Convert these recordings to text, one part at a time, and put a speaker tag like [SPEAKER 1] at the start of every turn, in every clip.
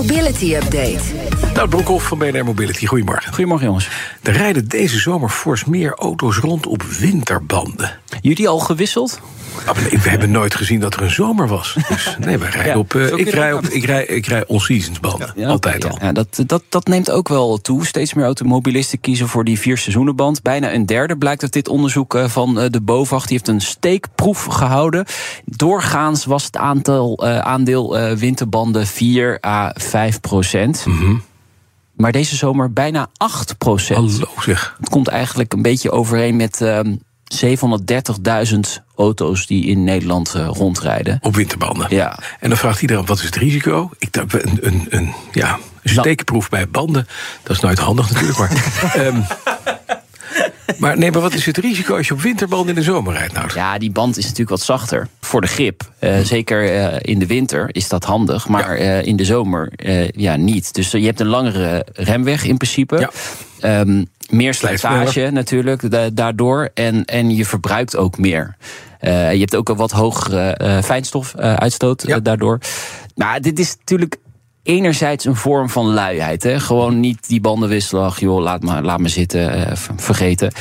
[SPEAKER 1] Mobility Update.
[SPEAKER 2] Nou, Broekhoff van BNR Mobility, goedemorgen.
[SPEAKER 3] Goedemorgen jongens.
[SPEAKER 2] Er rijden deze zomer fors meer auto's rond op winterbanden.
[SPEAKER 3] Jullie al gewisseld?
[SPEAKER 2] Ah, maar nee, we hebben nooit gezien dat er een zomer was. Dus nee, we rijden
[SPEAKER 3] Ja,
[SPEAKER 2] op, eh,
[SPEAKER 3] zo kun
[SPEAKER 2] ik
[SPEAKER 3] je
[SPEAKER 2] rij
[SPEAKER 3] dat
[SPEAKER 2] op. Ik rij, ik rij on-seasons banden.
[SPEAKER 3] Ja,
[SPEAKER 2] Altijd
[SPEAKER 3] oké,
[SPEAKER 2] al.
[SPEAKER 3] ja. Ja, dat, dat, dat neemt ook wel toe. Steeds meer automobilisten kiezen voor die vier seizoenenband. Bijna een derde blijkt uit dit onderzoek eh, van eh, de BOVAG. Die heeft een steekproef gehouden. Doorgaans was het aantal, eh, aandeel eh, winterbanden 4 à 5 procent. Maar deze zomer bijna 8 procent.
[SPEAKER 2] Hallo zeg.
[SPEAKER 3] Het komt eigenlijk een beetje overeen met ehm 730.000 auto's die in Nederland eh, rondrijden.
[SPEAKER 2] Op winterbanden.
[SPEAKER 3] Ja.
[SPEAKER 2] En dan vraagt iedereen, wat is het risico? Ik dacht, een, een, een, ja, een
[SPEAKER 3] Nou.
[SPEAKER 2] steekproef bij banden. Dat is nooit handig natuurlijk, maar... ehm, maar nee, maar wat is het risico als je op winterbanden in de zomer rijdt? Nou, Mhm.
[SPEAKER 3] Ja, die band is natuurlijk wat zachter voor de grip. Eh, zeker eh, in de winter is dat handig, maar eh, in de zomer eh, ja, niet. Dus eh, je hebt een langere remweg in principe.
[SPEAKER 2] Ja.
[SPEAKER 3] Ehm, meer
[SPEAKER 2] Slijt
[SPEAKER 3] slijtage
[SPEAKER 2] sneller.
[SPEAKER 3] natuurlijk da- daardoor. En, en je verbruikt ook meer. Eh, je hebt ook een wat hogere eh, fijnstofuitstoot
[SPEAKER 2] Ja.
[SPEAKER 3] eh, daardoor. Maar dit is natuurlijk enerzijds een vorm van luiheid. Hè? Gewoon niet die banden wisselen. Ach, joh, laat maar, laat maar zitten, eh, v- vergeten.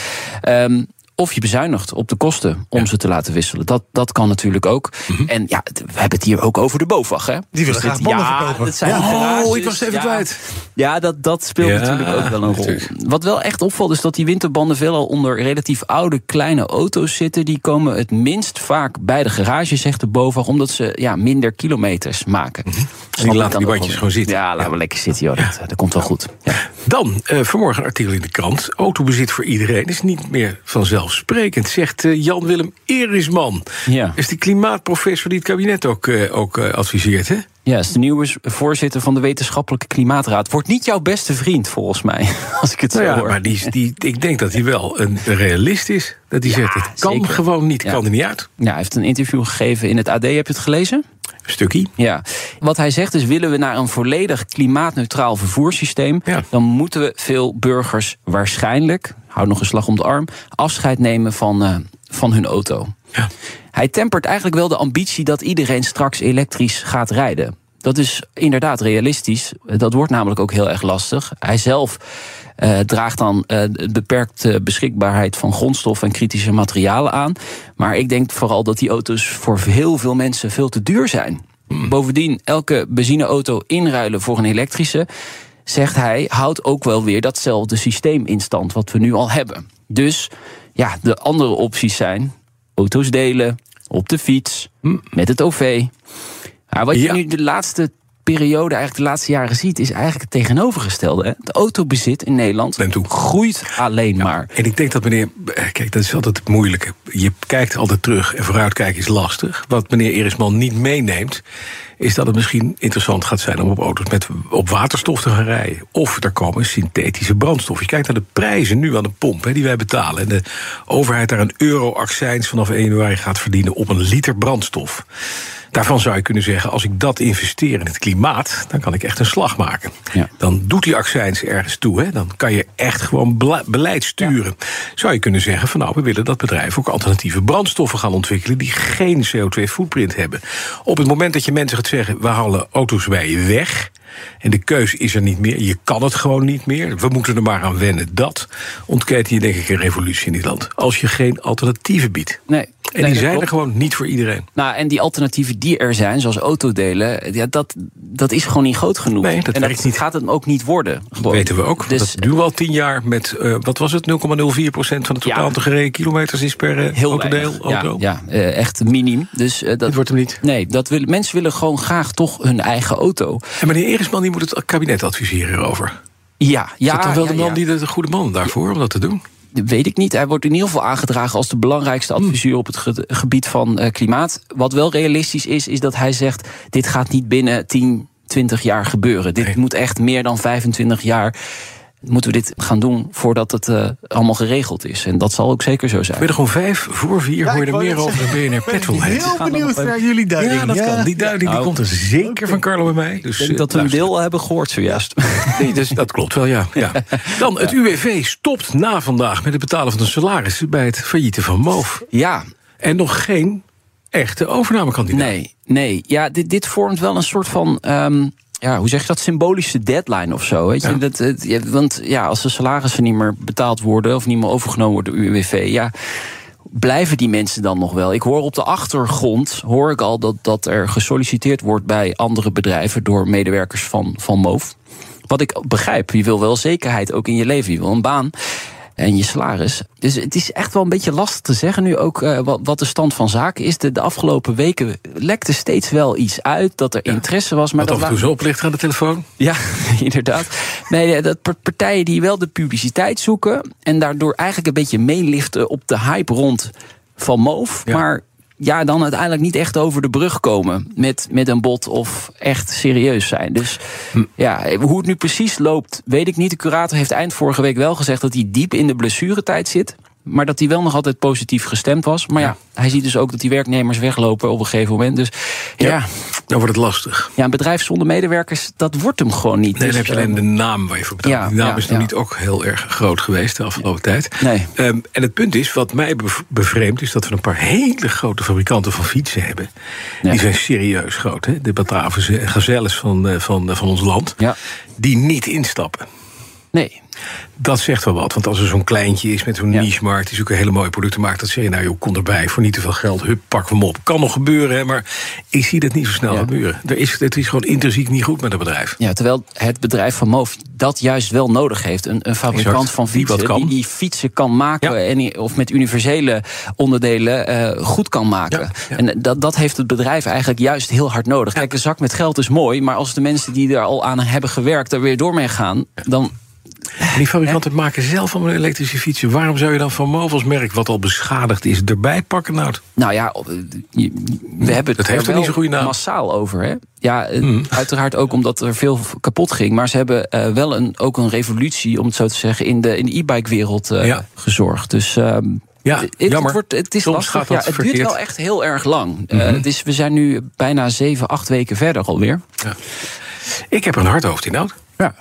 [SPEAKER 3] Ehm, of je bezuinigt op de kosten om ze te laten wisselen. Dat, dat kan natuurlijk ook. En ja, d- we hebben het hier ook over de BOVAG. Hè?
[SPEAKER 1] Die
[SPEAKER 4] Dus
[SPEAKER 1] willen
[SPEAKER 3] dit-
[SPEAKER 1] graag banden
[SPEAKER 3] ja,
[SPEAKER 1] verkopen.
[SPEAKER 3] Dat zijn
[SPEAKER 1] Ja.
[SPEAKER 3] garages,
[SPEAKER 2] Oh, ik was het even
[SPEAKER 3] ja.
[SPEAKER 2] kwijt.
[SPEAKER 3] Ja, dat, dat speelt
[SPEAKER 2] Ja,
[SPEAKER 3] natuurlijk ook wel een rol.
[SPEAKER 2] natuurlijk.
[SPEAKER 3] Wat wel echt opvalt is dat die winterbanden veelal onder relatief oude kleine auto's zitten. Die komen het minst vaak bij de garage, zegt de BOVAG, omdat ze ja, minder kilometers maken. Snap ik dan
[SPEAKER 2] laten Mhm. die
[SPEAKER 3] ook wel
[SPEAKER 2] bandjes
[SPEAKER 3] weer.
[SPEAKER 2] gewoon zitten.
[SPEAKER 3] Ja, laten we lekker zitten, joh. Dat, dat komt wel goed. Ja.
[SPEAKER 2] Dan, eh, vanmorgen een artikel in de krant. Autobezit voor iedereen is niet meer vanzelfsprekend, zegt eh, Jan-Willem Erisman.
[SPEAKER 3] Ja.
[SPEAKER 2] Is die klimaatprofessor die het kabinet ook, eh, ook eh, adviseert, hè?
[SPEAKER 3] Ja, is de nieuwe voorzitter van de Wetenschappelijke Klimaatraad. Wordt niet jouw beste vriend, volgens mij. Als ik het zo
[SPEAKER 2] Nou ja,
[SPEAKER 3] hoor.
[SPEAKER 2] maar die, die, ik denk dat hij wel een realist is. Dat hij zegt, het kan
[SPEAKER 3] zeker.
[SPEAKER 2] gewoon niet,
[SPEAKER 3] Ja.
[SPEAKER 2] kan er niet uit.
[SPEAKER 3] Ja, hij heeft een interview gegeven in het AD. Heb je het gelezen?
[SPEAKER 2] Stukkie.
[SPEAKER 3] Ja, wat hij zegt is: willen we naar een volledig klimaatneutraal vervoerssysteem,
[SPEAKER 2] Ja.
[SPEAKER 3] dan moeten we veel burgers waarschijnlijk, hou nog een slag om de arm, afscheid nemen van, eh, van hun auto.
[SPEAKER 2] Ja.
[SPEAKER 3] Hij tempert eigenlijk wel de ambitie dat iedereen straks elektrisch gaat rijden. Dat is inderdaad realistisch. Dat wordt namelijk ook heel erg lastig. Hij zelf eh, draagt dan eh, de beperkte beschikbaarheid van grondstof en kritische materialen aan. Maar ik denk vooral dat die auto's voor heel veel mensen veel te duur zijn. Bovendien, elke benzineauto inruilen voor een elektrische, zegt hij, houdt ook wel weer datzelfde systeem in stand wat we nu al hebben. Dus ja, de andere opties zijn auto's delen, op de fiets, met het OV. Maar wat je
[SPEAKER 2] Hm. Ja.
[SPEAKER 3] nu de laatste periode, eigenlijk de laatste jaren ziet, is eigenlijk het tegenovergestelde. Hè? Het autobezit in Nederland
[SPEAKER 2] Neemt toe.
[SPEAKER 3] groeit alleen maar.
[SPEAKER 2] En ik denk dat meneer... eh, Kijk, dat is altijd het moeilijke. Je kijkt altijd terug en vooruitkijken is lastig. Wat meneer Erisman niet meeneemt... is dat het misschien interessant gaat zijn om op auto's met, op waterstof te gaan rijden. Of er komen synthetische brandstof. Je kijkt naar de prijzen nu aan de pomp hè, die wij betalen. En de overheid daar een euro-accijns vanaf 1 januari gaat verdienen... op een liter brandstof. Daarvan zou je kunnen zeggen, als ik dat investeer in het klimaat... dan kan ik echt een slag maken.
[SPEAKER 3] Ja.
[SPEAKER 2] Dan doet die accijns ergens toe. Hè? Dan kan je echt gewoon bela- beleid sturen. Zou je kunnen zeggen van nou, we willen dat bedrijven ook alternatieve brandstoffen gaan ontwikkelen die geen CO2-footprint hebben. Op het moment dat je mensen gaat zeggen, we halen auto's bij je weg. En de keus is er niet meer. Je kan het gewoon niet meer. We moeten er maar aan wennen. Dat ontkent je denk ik een revolutie in dit land. Als je geen alternatieven biedt.
[SPEAKER 3] Nee,
[SPEAKER 2] En
[SPEAKER 3] nee, dat
[SPEAKER 2] die zijn
[SPEAKER 3] klopt.
[SPEAKER 2] er gewoon niet voor iedereen.
[SPEAKER 3] Nou, en die alternatieven die er zijn, zoals autodelen, ja, dat, dat is gewoon niet groot genoeg.
[SPEAKER 2] Nee, dat
[SPEAKER 3] en
[SPEAKER 2] werkt niet.
[SPEAKER 3] gaat het ook niet worden.
[SPEAKER 2] Dat
[SPEAKER 3] gewoon.
[SPEAKER 2] weten we ook.
[SPEAKER 3] Dus
[SPEAKER 2] dat doen we al tien jaar met, eh, wat was het, 0,04% van het
[SPEAKER 3] Ja.
[SPEAKER 2] totaal te gereden kilometers is per eh,
[SPEAKER 3] heel
[SPEAKER 2] autodeel.
[SPEAKER 3] weinig.
[SPEAKER 2] auto.
[SPEAKER 3] Ja, ja eh, echt minim. Dus, eh, dat
[SPEAKER 2] Dit wordt hem niet.
[SPEAKER 3] Nee, dat willen mensen willen gewoon graag toch hun eigen auto.
[SPEAKER 2] En meneer Erisman die moet het kabinet adviseren hierover.
[SPEAKER 3] Ja, ja.
[SPEAKER 2] is dat dan wel
[SPEAKER 3] ja,
[SPEAKER 2] de man
[SPEAKER 3] ja.
[SPEAKER 2] die de goede man daarvoor om dat te doen?
[SPEAKER 3] Weet ik niet. Hij wordt in ieder geval aangedragen als de belangrijkste adviseur op het ge- gebied van eh, klimaat. Wat wel realistisch is, is dat hij zegt: dit gaat niet binnen 10, 20 jaar gebeuren. Dit
[SPEAKER 2] Nee.
[SPEAKER 3] moet echt meer dan 25 jaar. Moeten we dit gaan doen voordat het eh, allemaal geregeld is? En dat zal ook zeker zo zijn.
[SPEAKER 2] Middag om vijf voor vier hoor je er meer over dan BNR Petrolhead.
[SPEAKER 5] Heel benieuwd naar jullie duiding.
[SPEAKER 2] Ja, dat kan. Die duiding die
[SPEAKER 3] Nou,
[SPEAKER 2] komt er zeker van Carlo en mij. Dus,
[SPEAKER 3] Ik denk
[SPEAKER 2] eh,
[SPEAKER 3] dat we een
[SPEAKER 2] luister.
[SPEAKER 3] deel al hebben gehoord zojuist.
[SPEAKER 2] Nee, dus, dat klopt wel, ja. ja. Dan, het UWV stopt na vandaag met het betalen van de salarissen... bij het faillieten van Moof.
[SPEAKER 3] Ja,
[SPEAKER 2] En nog geen echte overnamekandidaat.
[SPEAKER 3] nee, nee. Ja, dit, dit vormt wel een soort van. ehm, ja, hoe zeg je dat? Symbolische deadline of zo. Weet je? Dat, het- ja, want ja, als de salarissen niet meer betaald worden of niet meer overgenomen worden door UWV, ja, blijven die mensen dan nog wel? Ik hoor op de achtergrond hoor ik al dat, dat er gesolliciteerd wordt bij andere bedrijven door medewerkers van, van MOVE. Wat ik begrijp, je wil wel zekerheid ook in je leven. Je wil een baan en je salaris. Dus het is echt wel een beetje lastig te zeggen nu ook eh, wat, wat de stand van zaken is. De, de afgelopen weken lekte steeds wel iets uit dat er interesse was. Maar
[SPEAKER 2] Wat af en
[SPEAKER 3] dat
[SPEAKER 2] toe
[SPEAKER 3] wa-
[SPEAKER 2] zo oplichter aan de telefoon.
[SPEAKER 3] ja, inderdaad. Nee, ja, dat par- partijen die wel de publiciteit zoeken en daardoor eigenlijk een beetje meeliften op de hype rond van Moof,
[SPEAKER 2] Ja.
[SPEAKER 3] maar ja, dan uiteindelijk niet echt over de brug komen met, met een bot of echt serieus zijn. Dus
[SPEAKER 2] Hm.
[SPEAKER 3] ja, hoe het nu precies loopt, weet ik niet. De curator heeft eind vorige week wel gezegd dat hij diep in de blessuretijd zit. Maar dat hij wel nog altijd positief gestemd was. Maar ja, hij ziet dus ook dat die werknemers weglopen op een gegeven moment. Dus ja, ja.
[SPEAKER 2] Dan wordt het lastig.
[SPEAKER 3] een bedrijf zonder medewerkers, dat wordt hem gewoon niet. Dus,
[SPEAKER 2] Nee, dan heb je
[SPEAKER 3] eh,
[SPEAKER 2] alleen de naam waar je voor betaalt.
[SPEAKER 3] ja,
[SPEAKER 2] die naam
[SPEAKER 3] ja,
[SPEAKER 2] is nog
[SPEAKER 3] ja.
[SPEAKER 2] niet ook heel erg groot geweest de afgelopen tijd.
[SPEAKER 3] Nee.
[SPEAKER 2] Ehm, en het punt is, wat mij bev- bevreemdt, is dat we een paar hele grote fabrikanten van fietsen hebben.
[SPEAKER 3] Ja.
[SPEAKER 2] Die zijn serieus groot, hè? de Batavus en Gazelles van, eh, van, eh, van ons land.
[SPEAKER 3] Ja.
[SPEAKER 2] Die niet instappen.
[SPEAKER 3] Nee,
[SPEAKER 2] Dat zegt wel wat, want als er zo'n kleintje is met zo'n
[SPEAKER 3] Ja.
[SPEAKER 2] niche-markt... die zulke hele mooie producten maakt, dat zeg je... nou joh, kom erbij, voor niet te veel geld, hup, pak hem op. Kan nog gebeuren, hè, maar ik zie dat niet zo snel
[SPEAKER 3] Ja.
[SPEAKER 2] gebeuren. Er is, het is gewoon intrinsiek niet goed met een bedrijf.
[SPEAKER 3] ja, terwijl het bedrijf van Moof dat juist wel nodig heeft. Een, een fabrikant
[SPEAKER 2] Exact.
[SPEAKER 3] van
[SPEAKER 2] Die
[SPEAKER 3] fietsen
[SPEAKER 2] wat
[SPEAKER 3] die,
[SPEAKER 2] kan.
[SPEAKER 3] die fietsen kan maken...
[SPEAKER 2] Ja.
[SPEAKER 3] En, die- of met universele onderdelen eh, goed kan maken.
[SPEAKER 2] Ja, ja.
[SPEAKER 3] En eh, dat, dat heeft het bedrijf eigenlijk juist heel hard nodig. Kijk, een zak met geld is mooi... maar als de mensen die er al aan hebben gewerkt er weer door mee gaan... dan
[SPEAKER 2] En die fabrikanten maken zelf allemaal elektrische fietsen. Waarom zou je dan van Movels merk, wat al beschadigd is, erbij pakken? Nou,
[SPEAKER 3] Nou ja, op- eh, je- we hebben
[SPEAKER 2] Dat
[SPEAKER 3] het
[SPEAKER 2] heeft
[SPEAKER 3] er
[SPEAKER 2] toch niet zo'n goede naam? Mm.
[SPEAKER 3] massaal over. Hè? Ja, eh, uiteraard ook omdat er veel kapot ging. Maar ze hebben eh, wel een, ook een revolutie, om het zo te zeggen, in de, in de e-bike wereld eh,
[SPEAKER 2] Ja.
[SPEAKER 3] gezorgd. Dus ehm,
[SPEAKER 2] Ja,
[SPEAKER 3] het, het
[SPEAKER 2] jammer.
[SPEAKER 3] wordt, het is
[SPEAKER 2] Soms
[SPEAKER 3] lastig.
[SPEAKER 2] gaat dat
[SPEAKER 3] ja, het duurt
[SPEAKER 2] verkeerd. Mhm.
[SPEAKER 3] wel echt heel erg lang. Eh, het is, we zijn nu bijna zeven, acht weken verder alweer.
[SPEAKER 2] ik heb er een hard hoofd in, Nout.
[SPEAKER 3] Ja.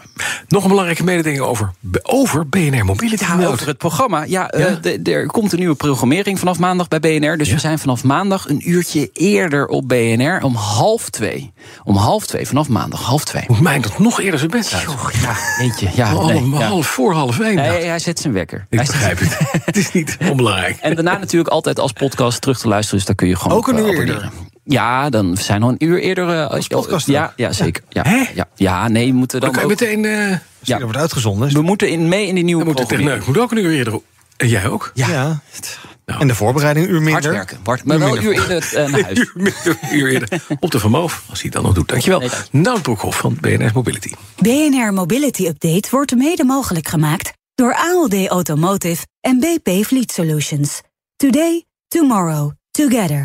[SPEAKER 2] Nog een belangrijke mededeling over, over BNR Mobility.
[SPEAKER 3] Ja,
[SPEAKER 2] Nout.
[SPEAKER 3] over het programma. Ja, eh,
[SPEAKER 2] Ja.
[SPEAKER 3] de- er komt een nieuwe programmering vanaf maandag bij BNR. Dus we zijn vanaf maandag een uurtje eerder op BNR om half twee. Om half twee, vanaf maandag, half twee.
[SPEAKER 2] Moet mij dat nog eerder zijn bed uit.
[SPEAKER 3] Joh, ja, eentje. Ja,
[SPEAKER 2] Om
[SPEAKER 3] Ah, nee,
[SPEAKER 2] half,
[SPEAKER 3] ja.
[SPEAKER 2] Oh, half voor half één.
[SPEAKER 3] Nee,
[SPEAKER 2] Nout.
[SPEAKER 3] hij zet zijn wekker.
[SPEAKER 2] Ik
[SPEAKER 3] Hij zet-
[SPEAKER 2] begrijp het. het is niet onbelangrijk.
[SPEAKER 3] En daarna natuurlijk altijd als podcast terug te luisteren. Dus daar kun je gewoon
[SPEAKER 5] Ook een
[SPEAKER 3] op, eh,
[SPEAKER 5] uur eerder?
[SPEAKER 3] abonneren. Ja, dan zijn we al een uur eerder. eh, als je-
[SPEAKER 5] podcast
[SPEAKER 3] ja, ja, zeker. Ja,
[SPEAKER 2] Hè?
[SPEAKER 3] ja, ja, nee, we moeten
[SPEAKER 2] Dan
[SPEAKER 3] dan.
[SPEAKER 2] kan je
[SPEAKER 3] ook-
[SPEAKER 2] meteen. eh
[SPEAKER 5] Ja.
[SPEAKER 3] Ja.
[SPEAKER 5] wordt uitgezonden.
[SPEAKER 3] we moeten in, mee in die nieuwe
[SPEAKER 2] dan moet de
[SPEAKER 3] programmering.
[SPEAKER 2] techneut moet ook een uur eerder. En jij ook?
[SPEAKER 5] Ja. En de voorbereiding een uur
[SPEAKER 3] Hard
[SPEAKER 5] minder.
[SPEAKER 3] werken, Bart. Maar wel een uur in het eh, naar huis.
[SPEAKER 2] Een uur- een uur eerder. Op de Vermoof, als hij dat nog doet. Dankjewel.
[SPEAKER 3] Nee,
[SPEAKER 2] Nout Broekhoff van BNR Mobility.
[SPEAKER 1] BNR Mobility Update wordt mede mogelijk gemaakt door ALD Automotive en BP Fleet Solutions. Today, tomorrow, together.